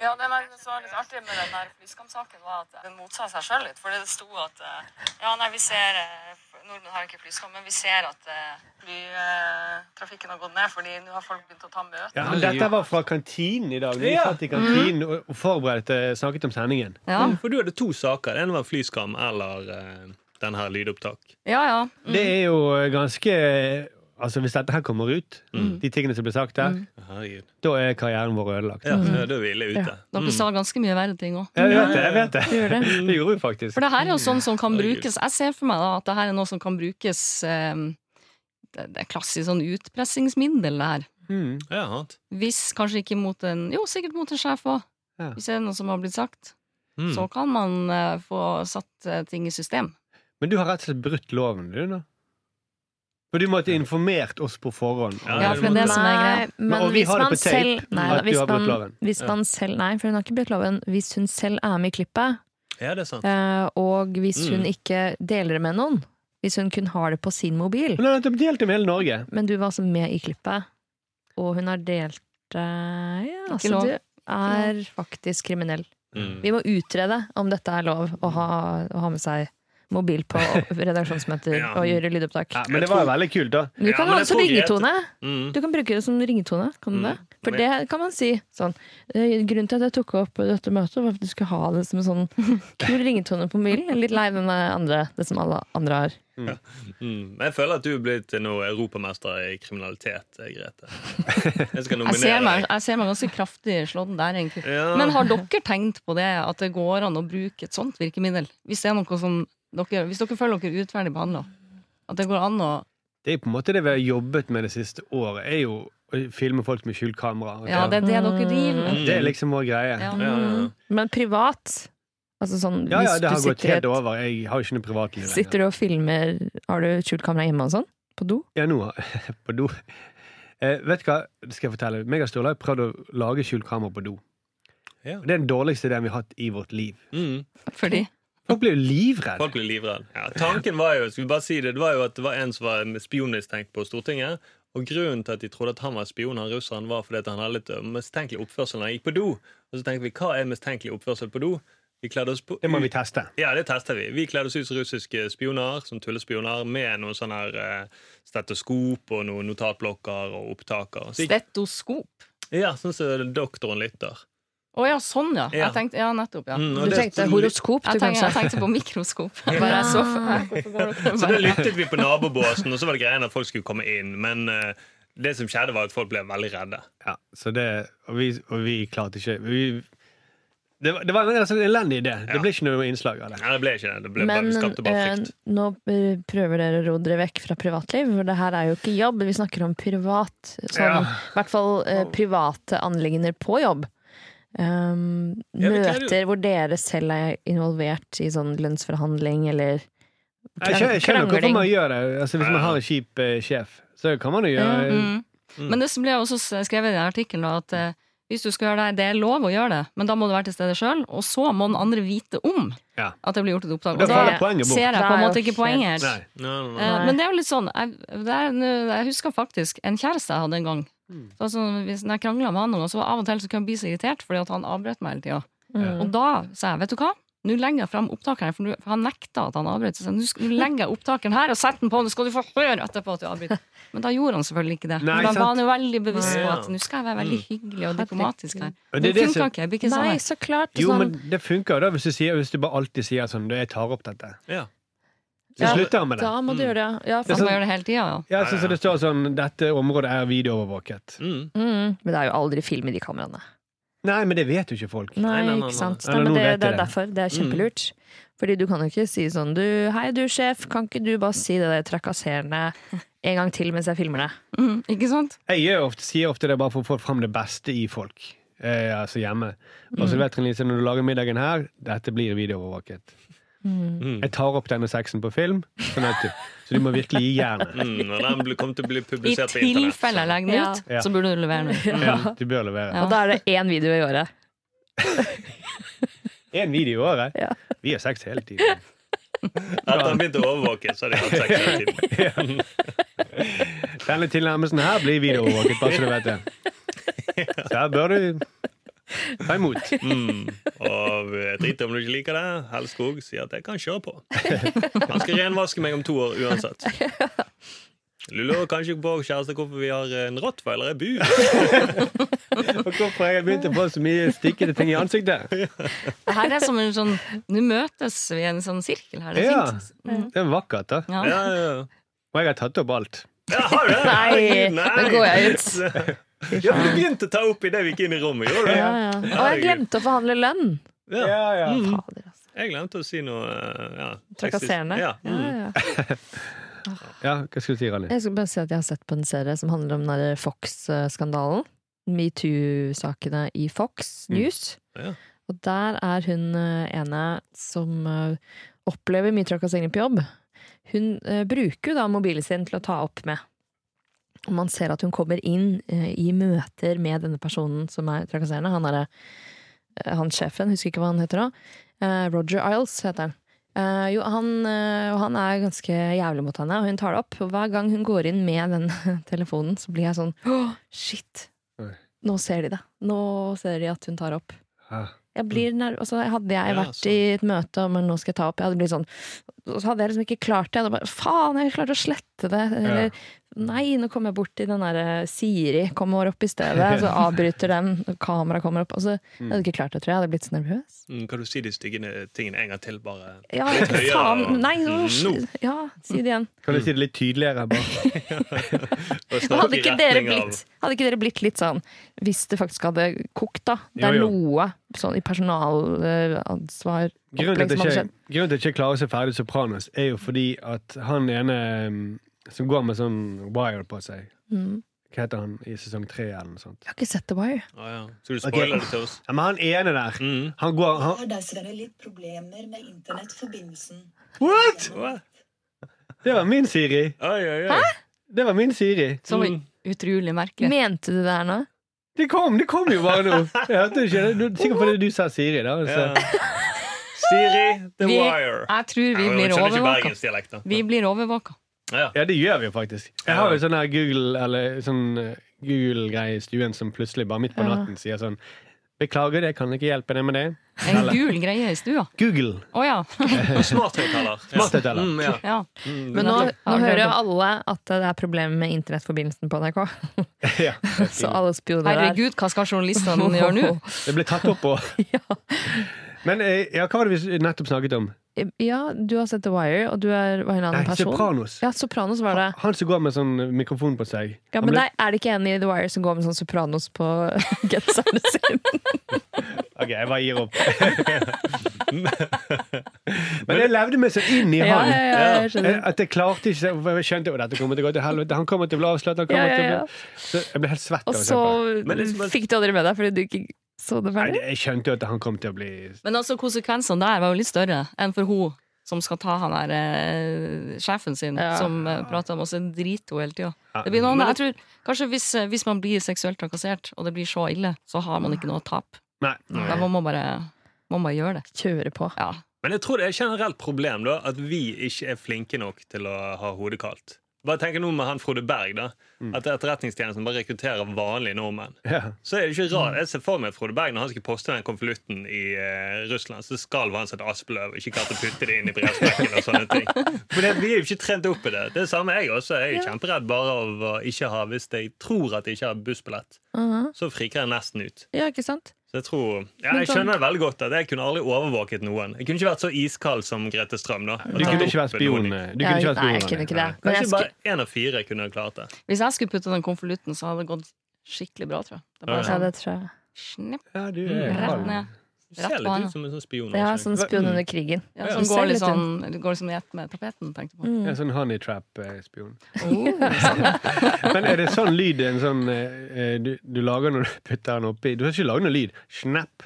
Ja, det var- det som var litt artig med den der flyskamsaken, var at den motsa seg sjøl litt. For det sto at eh, Ja, nei, vi ser eh, Nordmenn har ikke flyskam, men vi ser at eh, flytrafikken har gått ned, fordi nå har folk begynt å ta møter. Ja, men dette var fra kantinen i dag. Vi Ja. satt i kantinen og og forberedte snakket om sendingen. Ja, For du hadde to saker. Den var flyskam eller eh, den her lydopptak. ja. ja. Det er jo eh, ganske Altså Hvis dette her kommer ut, de tingene som ble sagt der, Herregud. da er karrieren vår ødelagt. Mm. Ja, da er vi ille ute. Mm. Dere sa ganske mye verre ting òg. Jeg vet det. jeg vet Det Det gjorde vi faktisk. For det her er jo sånn som kan Herregud. brukes Jeg ser for meg da at det her er noe som kan brukes eh, Det det er klassisk sånn utpressingsmiddel, det her. Mm. Ja, sant. Hvis kanskje ikke mot en Jo, sikkert mot en sjef òg. Ja. Hvis det er noe som har blitt sagt, Mm. så kan man eh, få satt eh, ting i system. Men du har rett og slett brutt loven, du, nå. For du måtte informert oss på forhånd. Ja, Ja, for det er det som er greia. Nei, men Og vi hvis har det man på tape, selv- Nei, at da, du hvis har brutt man- loven. Hvis man selv Nei, for hun har ikke brutt loven. Hvis hun selv er med i klippet, Ja, det er sant. eh, og hvis hun Mm. ikke deler det med noen Hvis hun kun har det på sin mobil Men han har nettopp delt om hele Norge. Men du var altså med i klippet, og hun har delt eh, Ja, Ikke så lov. du er faktisk kriminell. Mm. Vi må utrede om dette er lov å ha, å ha med seg mobil på redaksjonsmøter Ja. og gjøre lydopptak. Ja, men det var jo veldig kult, da. Du Ja, kan men ha jeg det som tror Grete- ringetone. Mm. Mm. Du kan bruke det som ringetone. Kan du det? For det kan man si sånn. eh, Grunnen til at jeg tok opp dette møtet, var at du skulle ha det som en sånn kul ringetone på mobilen. Jeg er Litt lei den eh, andre, det som alle andre har. Mm. Jeg føler at du er blitt nå europamester i kriminalitet, eh, Grete. Jeg skal Jeg nominere ser, meg, deg. jeg ser meg ganske kraftig slått der, egentlig. Ja. Men har dere tenkt på det, at det går an å bruke et sånt virkemiddel? Hvis det er noe som dere, hvis dere føler dere urettferdig behandla? At det går an å Det er på en måte det vi har jobbet med det siste året, er jo å filme folk med skjult kamera. Ja, det er det dere driver med. Mm. Det er liksom vår greie. Ja, Ja. ja, ja. Mm. Men privat Altså sånn Ja, ja, det hvis du har gått sitter, helt i et- over. Jeg har jo ikke noe privatliv sitter lenger. du og filmer Har du skjult kamera hjemme og sånn? På do? Ja, nå på do. Eh, vet du hva, det skal jeg fortelle. Meg og Sturle har prøvd å lage skjult kamera på do. Ja. Og Det er den dårligste ideen vi har hatt i vårt liv. Mm. Fordi Folk blir jo livredde. Folk blir livredde. Ja, tanken var jo skal vi bare si det, det var jo at det var en som var spionmistenkt på Stortinget. Og Grunnen til at de trodde at han var spion, han russeren, var fordi at han hadde litt eh, mistenkelig oppførsel når han gikk på do. Og så tenkte vi, hva er mistenkelig oppførsel på do? Vi kledde oss på Det må vi teste. Ja, det tester vi. Vi kledde oss ut som russiske spioner, som tullespioner, med noen sånne her eh, stetoskop og noen notatblokker og opptaker. Så, gikk- Stetoskop. ja, sånn som doktoren lytter. Å ja, sånn, ja. Ja. Jeg tenkte, ja, nettopp, ja. Mm, og Du det- tenkte horoskop, du Jeg tenkte, jeg kanskje? tenkte på mikroskop. Bare jeg så for meg. Så da lyttet vi på nabobåsen, og så var det greia at folk skulle komme inn. Men eh, det som skjedde, var at folk ble veldig redde. Ja, så det, og, vi, og vi klarte ikke vi, det, var- det var en altså, en elendig idé. Det Ja. ble ikke noe innslag av det. Nei, det ble ikke det. det ble bare, Men vi skapte bare eh, frykt. nå eh, prøver dere å ro dere vekk fra privatliv, for det her er jo ikke jobb. Vi snakker om privat. Sånn, Ja. I hvert fall eh, private anliggender på jobb. Um, Ja, men hva er det- møter hvor dere selv er involvert i sånn lønnsforhandling eller Jeg skjønner, jeg skjønner hvorfor krangling. man gjør det. Altså, hvis man har en kjip eh, sjef, så kan man jo gjøre Mm. Men det ble også skrevet i den artikkelen da, at eh, hvis du skal gjøre det, det er lov å gjøre det, men da må du være til stede sjøl, og så må den andre vite om Ja. at det blir gjort et opptak. Da Og faller da poenget bort. ser jeg på en Nei, måte ikke jo, helt- poenget her. Nei. Nei, nei, nei. Eh, Men det er jo litt sånn jeg, det er, nå- jeg husker faktisk en kjæreste jeg hadde en gang. Mm. Så altså, hvis når jeg krangla med han, noen, så var av og til så kunne jeg bli så irritert fordi at han avbrøt meg hele tida. Mm. Og da sa jeg, vet du hva? Nå legger jeg fram opptakeren, her, for nå- for han nekta at han avbrøt. Så jeg sa, nå sk- nå legger jeg opptakeren her og setter den på, nå skal du få høre etterpå at du avbryter. Men da gjorde han selvfølgelig ikke det. Nei, for da sant. var han jo veldig bevisst på at Ja. nå skal jeg være veldig hyggelig og diplomatisk her. Og det er Men det det funka som- ikke. Jeg blir ikke sånn Nei, her. så klart. Jo, sånn, men det funker jo da hvis du, sier, hvis du bare alltid sier sånn Du, jeg tar opp dette. Ja. Så Ja, slutter han med det. da må du gjøre det, ja. ja Man faen. må gjøre det hele tida, ja. Ja, sånn som det står sånn Dette området er videoovervåket. Mm. Mm. Men det er jo aldri film i de kameraene. Nei, men det vet jo ikke folk. Nei, nei, nei, nei. ikke sant. Eller Nei, men nå det, vet jeg det er det. derfor. Det er kjempelurt. Fordi du kan jo ikke si sånn du, 'Hei, du sjef, kan ikke du bare si det der trakasserende en gang til mens jeg filmer det?' Mm, ikke sant? Jeg gjør ofte, sier ofte det bare for å få fram det beste i folk. Eh, altså hjemme. Og så vet Trine Lise, når du lager middagen her, dette blir videoovervåket. Jeg tar opp denne sexen på film, sånn at du, så du må virkelig gi jernet. Mm. Og den ble- kom til å bli I publisert på internett. tilfelle jeg legger den ut, Ja. så burde du levere den. Ja, du bør levere. Ja. Og da er det én video i året. Én video i året. Ja. Vi har sex hele tiden. Etter han begynte å overvåke, så hadde de hatt sex hele tiden. Denne tilnærmelsen her blir videoovervåket, bare så du vet det. Så her bør du ta imot. Mm. Og eh, drit i om du ikke liker det. Hellskog sier at jeg kan kjøre på. Han skal renvaske meg om to år uansett. Du lurer kanskje på kjæreste hvorfor vi har en rottweiler i bur. Og hvorfor jeg begynte å få så mye stikkete ting i ansiktet. Det her er som en sånn Nå møtes vi i en sånn sirkel her. Det er Ja. fint. Det er vakkert, da. Ja. Ja, ja, ja. Og jeg har tatt opp alt. Ja, har du det? Nei, Herregud, nå går jeg ut. Ja, for du begynte å ta opp idet vi gikk inn i rommet. Gjorde du? Ja, ja. Og jeg glemte å forhandle lønn! Ja. ja. Fader, altså. Jeg glemte å si noe eh, ja. Trakasserende. Ja. Ja, Mm. ja. Ja, hva skal du si, Rally? Jeg skal bare si at jeg har sett på en serie som handler om den der Fox-skandalen. Metoo-sakene i Fox News. Ja. Og der er hun eh, ene som eh, opplever mye trakassering på jobb. Hun eh, bruker jo da mobilen sin til å ta opp med. Og man ser at hun kommer inn eh, i møter med denne personen som er trakasserende. Han er eh, han sjefen, husker ikke hva han heter da. Eh, Roger Isles heter han. Eh, jo, han, eh, og han er ganske jævlig mot henne, og hun tar det opp. Og hver gang hun går inn med den telefonen, så blir jeg sånn Åh, shit! Oi. Nå ser de det. Nå ser de at hun tar opp. Ah. Jeg blir nerv... Altså, hadde jeg Ja, vært i et møte om nå skal jeg ta opp, jeg hadde blitt sånn og så hadde jeg liksom ikke klart det. Og da bare, Faen, jeg klarte å slette det! Eller nei, nå kom jeg borti den derre Siri kommer opp i stedet. Så avbryter den, og kameraet kommer opp. Og så jeg hadde ikke klart det, tror jeg. Jeg hadde blitt så nervøs. Mm, Kan du si de stygge tingene en gang til, bare? Ja, Litt høyere, faen! og- Nei, nå, Mm, ja, si det igjen. Kan du si det litt tydeligere? Bare? og Men snakke hadde i ikke, dere retning av- blitt, hadde ikke dere blitt litt sånn Hvis det faktisk hadde kokt, da. Det er Jo, jo. noe sånn i personalansvar Grunnen opplegg til at som hadde jeg skjedd. ikke, grunnen til at jeg ikke klarer å se ferdig Sopranos, er jo fordi at han ene mm, som går med sånn wire på seg Mm. Hva heter han i sesong tre eller noe sånt? Jeg har ikke sett The Wire. Å, ja. Skal du spoile det til oss? Ja, men han ene der, Mm. han går Jeg han, har dessverre litt problemer med internettforbindelsen. What?! Hva? Det var min Siri! Oi, oi, oi. Det var min Siri! Så utrolig merkelig. Mente du det her nå? Det kom det kom jo bare nå! Jeg hørte ikke det. Du- Sikkert fordi du sa Siri, da. Så. Ja. Siri The Vi- Wire. Jeg tror vi Ja, men blir jeg skjønner ikke overvåka. bergensdialekt, da. Vi blir overvåka. Ja. Ja, det gjør vi jo faktisk. Jeg har jo sånn her Google Eller sånn eh, Google-greie i stuen som plutselig bare midt på Ja. natten sier sånn Beklager, jeg kan ikke hjelpe deg med det. En gul greie i stua. Google! Å ja. Og Smarthøyttaler. Smarthøyttaler. Mm, ja. ja. Men nå, Nettopp. nå Ja, hører jo nettopp. alle at det er problemer med internettforbindelsen på NRK. ja. Så alle spioner der. Herregud, hva skal journalistene gjøre nå? Det ble tatt opp på. Men eh, ja, hva var det vi nettopp snakket om? Ja, du har sett The Wire, og du er, var en Nei, annen person. Sopranos. Ja, Sopranos var det. Han som går med sånn mikrofon på seg. Ja, Han Men ble- nei, er det ikke en i The Wire som går med sånn Sopranos på genseren sin? Ok, jeg bare gir opp. Men jeg levde meg så inn i Ja, han. ja, ja, jeg Eh, skjønner. At jeg klarte ikke for Jeg skjønte jo dette kommer til å gå til helvete. Han kommer til å bli avslørt. Han kommer Ja, ja, Til å ja. bli... Så jeg ble helt svett. av Og å se så på det. Men det er som at- fikk du aldri med deg fordi du ikke så det Nei, ferdig? Jeg skjønte jo at han kom til å bli Men altså, konsekvensene der var jo litt større enn for hun som skal ta han der eh, sjefen sin, Ja. som eh, prater masse drit hele tida. Ja. Det blir noen, jeg tror, kanskje hvis, eh, hvis man blir seksuelt trakassert, og det blir så ille, så har man ikke noe å tape. Nei. Da må man bare, må man gjøre det. Kjøre på. Ja. Men jeg tror det er et generelt problem da at vi ikke er flinke nok til å ha hodet kaldt. Bare tenk nå med han Frode Berg, da. At Etterretningstjenesten bare rekrutterer vanlige nordmenn. Ja. Så er det ikke Mm. rart. Jeg ser for meg at Frode Berg når han skal poste den konvolutten i eh, Russland, så skalv han som et aspeløv og ikke klarte å putte det inn i brevsprekken og sånne ting. For det, vi er jo ikke trent opp i det. Det er samme jeg også. Jeg er kjemperedd bare av å ikke ha Hvis jeg tror at jeg ikke har bussbillett, Mhm. så friker jeg nesten ut. Ja, ikke sant? Så jeg tror, ja, Men jeg sånn- skjønner det veldig godt at jeg kunne aldri overvåket noen. Jeg kunne ikke vært så iskald som Grete Strøm. da. Du kunne ikke vært spion. eh. Du kunne ikke Ja, vært nei, jeg spion, kunne ikke nei. det. Men jeg Kanskje skulle, bare én av fire kunne ha klart det. Hvis jeg skulle putte den konvolutten, så hadde det gått skikkelig bra, tror jeg. Det er bare ja, sånn, det tror jeg. snipp, Ja, du er rett kald. ned. Du ser Rett på han, litt ut som en sånn spion. Ja, også. sånn spion under krigen. Ja, Ja. som Du ser går litt Mm. litt sånn, går liksom i ett med tapeten, tenkte jeg på. Ja, sånn honey trap-spion. Oh. Men er det sånn lyd en sånn, eh, du, du lager når du putter den oppi Du har ikke laget noe lyd. Snapp.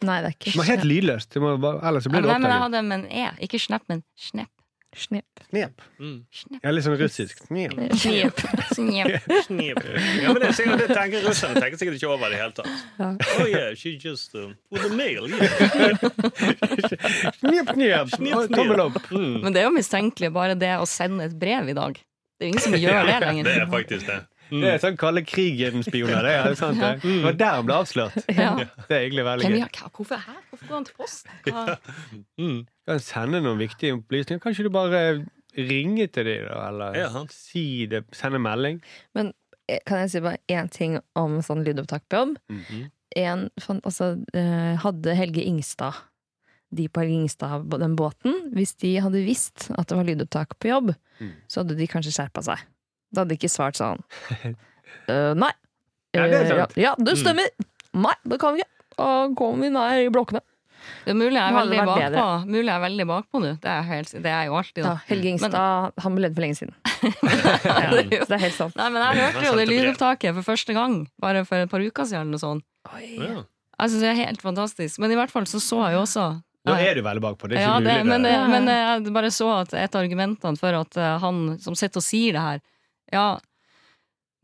Nei, det er Det må ikke være helt lydløst. Det må bare, ellers så Nei, blir det men jeg oppdaget. hadde med en E. Ikke snap, men snepp. Snipp. Knep. Mm. Ja, litt sånn russisk. Knep. Snepp. Snepp. Knip. Ja, men det, er sikkert, det tenker russerne tenker sikkert ikke over det i det hele tatt. Oh yeah, she just uh, put a mail. Yeah. Knep, knep. knep. Tommel opp. Mm. Men det er jo mistenkelig bare det å sende et brev i dag. Det er jo ingen som gjør det lenger. Det er faktisk det. Det er sånn kalde krigen-spioner. Det er sant, det. Det var der han ble avslørt. Ja. Det er egentlig veldig Hvem, gøy. ja, hva- hvorfor her? Hvorfor går han til posten? Hva? Mm. Kan sende noen viktige opplysninger. Kan ikke du bare ringe til dem, da? Eller Ja. si det, sende melding? Men eh, kan jeg si bare én ting om sånn lydopptak på jobb? Mhm. En, fan- altså, eh, hadde Helge Ingstad de på Helge Ingstad, på den båten, hvis de hadde visst at det var lydopptak på jobb, Mm. så hadde de kanskje skjerpa seg. Da hadde de ikke svart sånn «Øh, Nei. Ja, det er Eh, ja, sant. Mm. ja, det stemmer! Nei, det kan vi ikke. Da kommer vi nær i blokkene. Det er mulig jeg er Nå hadde det veldig vært bakpå. Mulig jeg er veldig bakpå nå. Det er, helt, det er jo alltid Ja, da. Helge Ingstad, han ble ledd for lenge siden. ja, så det er helt sant. Nei, men jeg hørte jo Han det sendte brev. lydopptaket for første gang, bare for et par uker siden eller noe sånt. Ja. Jeg synes det er helt fantastisk. Men i hvert fall så så jeg jo også Da er du veldig bakpå. Det er ikke Ja, mulig. det, men, det. eh, men eh, jeg bare så at et av argumentene for at eh, han som sitter og sier det her Ja,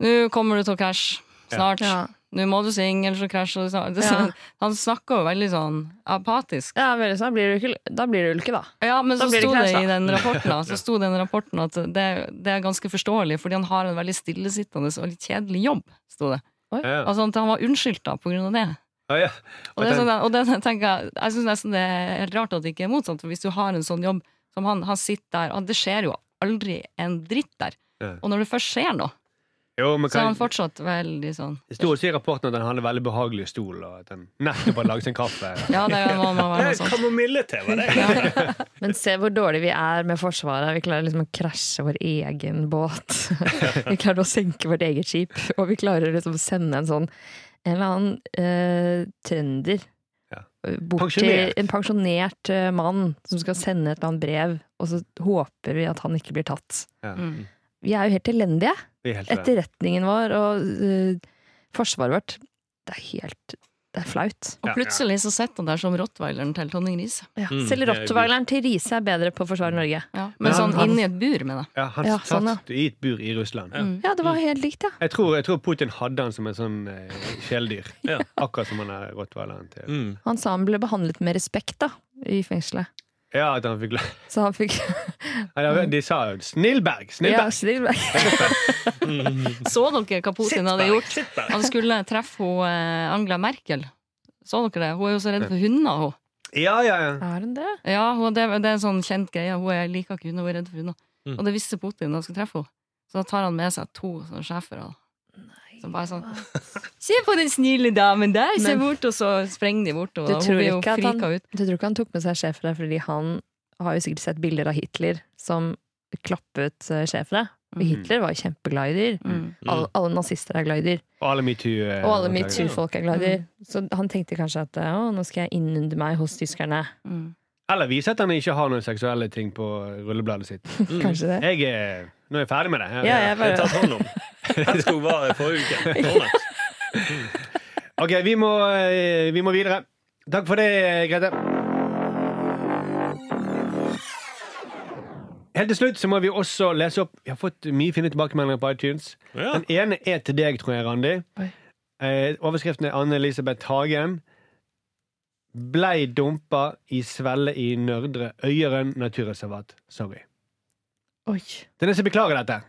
nå kommer du til å krasje snart. Ja. Nå må du synge, ellers så krasjer du snart. Det, er Ja. sånn- Han snakker jo veldig sånn apatisk. Ja, veldig sant. Blir du ikke, da blir du ikke, da. Ja, men Da så blir det sto det krasj, da. i den rapporten da, Så sto det i den rapporten at det, det er ganske forståelig, fordi han har en veldig stillesittende og litt kjedelig jobb. Sto det. Ja. Altså, at han var unnskyldt da, på grunn av det. Ja, ja. Og det, er sånn, og det tenker jeg jeg syns nesten det er rart at det ikke er motsatt. For hvis du har en sånn jobb, Som han, han sitter der, og det skjer jo aldri en dritt der. Ja. Og når det først skjer noe, Jo, men så er kan, han fortsatt veldig sånn det sto også i rapporten at han hadde veldig behagelig stol, og at han nettopp hadde laget seg en kaffe. Ja, det må, må være noe Det sånn. er sånt. kamomille-te, var det? Men se hvor dårlig vi er med Forsvaret. Vi klarer liksom å krasje vår egen båt. Vi klarer å senke vårt eget skip. Og vi klarer liksom å sende en sånn en eller annen eh, trønder Ja. bort Pensjonert. til en pensjonert eh, mann som skal sende et eller annet brev, og så håper vi at han ikke blir tatt. Ja. Mm. Vi er jo helt elendige. Det er helt det. Etterretningen vår og eh, forsvaret vårt. Det er helt Det er flaut. Og plutselig så sitter han der som rottweileren til Tonning Riise. Ja. Mm, Selv det er rottweileren til Riise er bedre på å forsvare Norge. Ja. Men Men han- sånn han- inni et bur, mener jeg. Ja, han Ja, satt sånn, ja. i et bur i Russland. Mm. Ja, det var helt likt, ja. Jeg tror, jeg tror Putin hadde han som en sånn eh, kjæledyr. Ja. Akkurat som han er rottweileren til Mm. Han sa han ble behandlet med respekt da, i fengselet. Ja, at han fikk la- Så han fikk Nei, De sa jo 'Snillberg! ja, Snillberg!' snill. Så dere hva Putin hadde gjort? Sitt der. Han skulle treffe hun, eh, Angela Merkel. Så dere det? Hun er jo så redd for hunder, hun. Ja, ja, ja. Er han det? Ja, hun, det, det er en sånn kjent greie. Hun er, liker ikke hunder, hun er redd for hunder. Mm. Og det visste Putin da han skulle treffe henne. Så da tar han med seg to sånne sjefer. da. Som bare sånn Se på den snille damen der! Se Men- bort, og så sprenger de bort. Og Du da, hun tror blir jo ikke at han- frika ut. Du tror ikke han tok med seg sjefere fordi han har jo sikkert sett bilder av Hitler som klappet eh, sjefere. For Mhm. Hitler var jo kjempeglad i dyr. Mm. Alle, alle nazister er glad i dyr. Og alle metoo. eh, Og alle anklager. metoo-folk er glad i dyr. Så han tenkte kanskje at eh, å, nå skal jeg innunde meg hos tyskerne. Mm. Eller vise at han ikke har noen seksuelle ting på rullebladet sitt. Kanskje det. Jeg er, nå er jeg ferdig med det. Ja, jeg Jeg har bare tatt hånd om. Jeg skulle være forrige uke. Ordnet. Ok, vi må, eh, vi må videre. Takk for det, Grete. Helt til slutt så må vi også lese opp Vi har fått mye fine tilbakemeldinger på iTunes. Ja. Den ene er til deg, tror jeg, Randi. Oi. Eh, overskriften er Anne-Elisabeth Hagen. Blei dumpa i svelle i Nørdre Øyeren naturreservat. Sorry. Oi. Den er som beklager dette.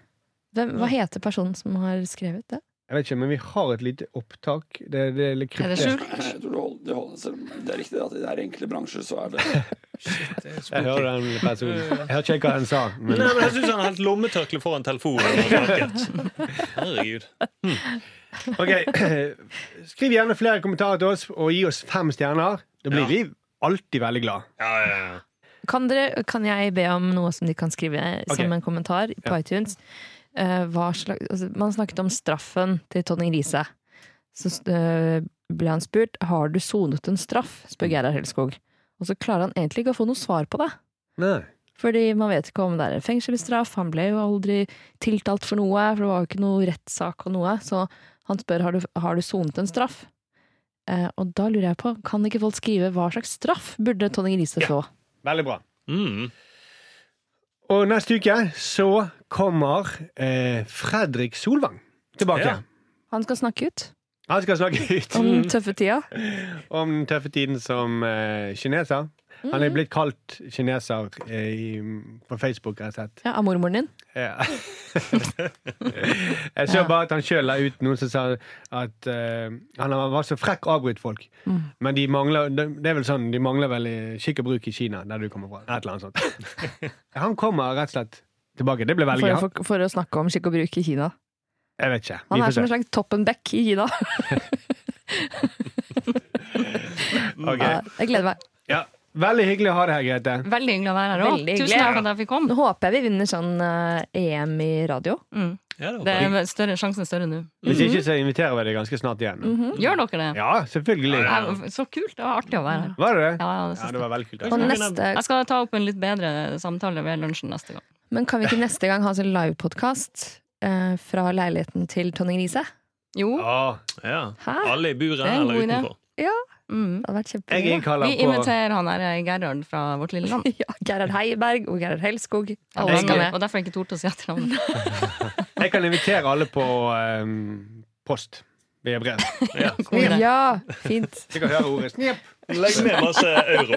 Hvem, hva heter personen som har skrevet det? Jeg vet ikke, men vi har et lite opptak. Det, det er litt Er det kryptisk. skjult? Jeg tror det, holder, det, holder, selv om det er riktig at i det er enkle bransjer så er det Jeg hører den personen. Jeg hørte ikke hva han sa. Men Nei, men Jeg syns han har hatt lommetørkle foran telefonen. og snakket. Herregud. Ok, Skriv gjerne flere kommentarer til oss, og gi oss fem stjerner. Da blir Ja. vi alltid veldig glad. Ja, ja, ja. Kan, dere, kan jeg be om noe som de kan skrive som en kommentar på iTunes? Eh, hva slags, altså, man snakket om straffen til Tonning Riise. Så eh, ble han spurt har du sonet en straff, spør Gerhard Helskog. Og så klarer han egentlig ikke å få noe svar på det. Nei. Fordi man vet ikke om det er en fengselsstraff. Han ble jo aldri tiltalt for noe, for det var jo ikke noe rettssak og noe. Så han spør har du har du sonet en straff. Eh, og da lurer jeg på, kan ikke folk skrive hva slags straff burde Tonning Riise få? Veldig bra. Mm. Og neste uke så kommer eh, Fredrik Solvang tilbake. Ja. Han skal snakke ut. Han skal snakke ut Om den tøffe tida. om den tøffe tiden som eh, kineser. Han Mm. er blitt kalt kineser eh, i, på Facebook, har jeg sett. Ja, av mormoren din. Ja. jeg så Ja. bare at han sjøl la ut noen som sa at eh, han var så frekk å avbryte folk. Mm. Men de mangler det det er vel sånn, de mangler vel i skikk og bruk i Kina, der du kommer fra. Et eller annet sånt. han kommer rett og slett tilbake. Det blir veldig For, gøy. for, for å snakke om skikk og bruk i Kina. Jeg vet ikke. Han Vi er får som en se. slags Toppenbeck i Kina. Ok. Ja, jeg gleder meg. Ja. Veldig hyggelig å ha deg her, Grete. Veldig hyggelig å være her òg. Veldig hyggelig. Tusen takk for at jeg fikk komme. Nå håper jeg vi vinner sånn eh, EM i radio. Mm. Ja, det var Det bra. er større, sjansen er større nå. Hvis ikke, så inviterer vi deg ganske snart igjen. Mm. Gjør dere det? Ja, selvfølgelig. Nei, Så kult! Det var artig å være her. Var det det? Ja, ja, det Ja, synes det jeg. var veldig kult. Og Altså. neste, jeg skal ta opp en litt bedre samtale ved lunsjen neste gang. men kan vi ikke neste gang ha sånn livepodkast eh, fra leiligheten til Tonning Riise? Jo. Å, Ja. Hæ? Alle i buret Det er en eller god idé. utenfor. Mm. Det hadde vært jeg kjempegøy. innkaller Vi på inviterer han her Gerhard fra Vårt Lille Land. Ja, Gerhard Heiberg og Gerhard Helskog. Alle Alle skal skal med. Og derfor har jeg ikke tort å si etternavnet. Jeg kan invitere alle på ehm, post via brev. Ja. God idé. Ja, fint. De kan høre ordet snep. Legg med masse euro.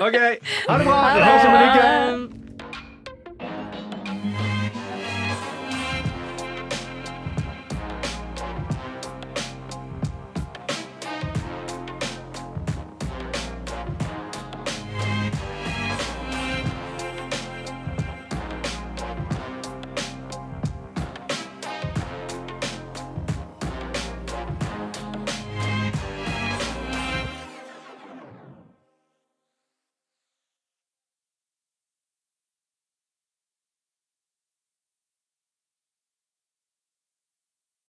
OK, ha det bra! Vi høres om en uke.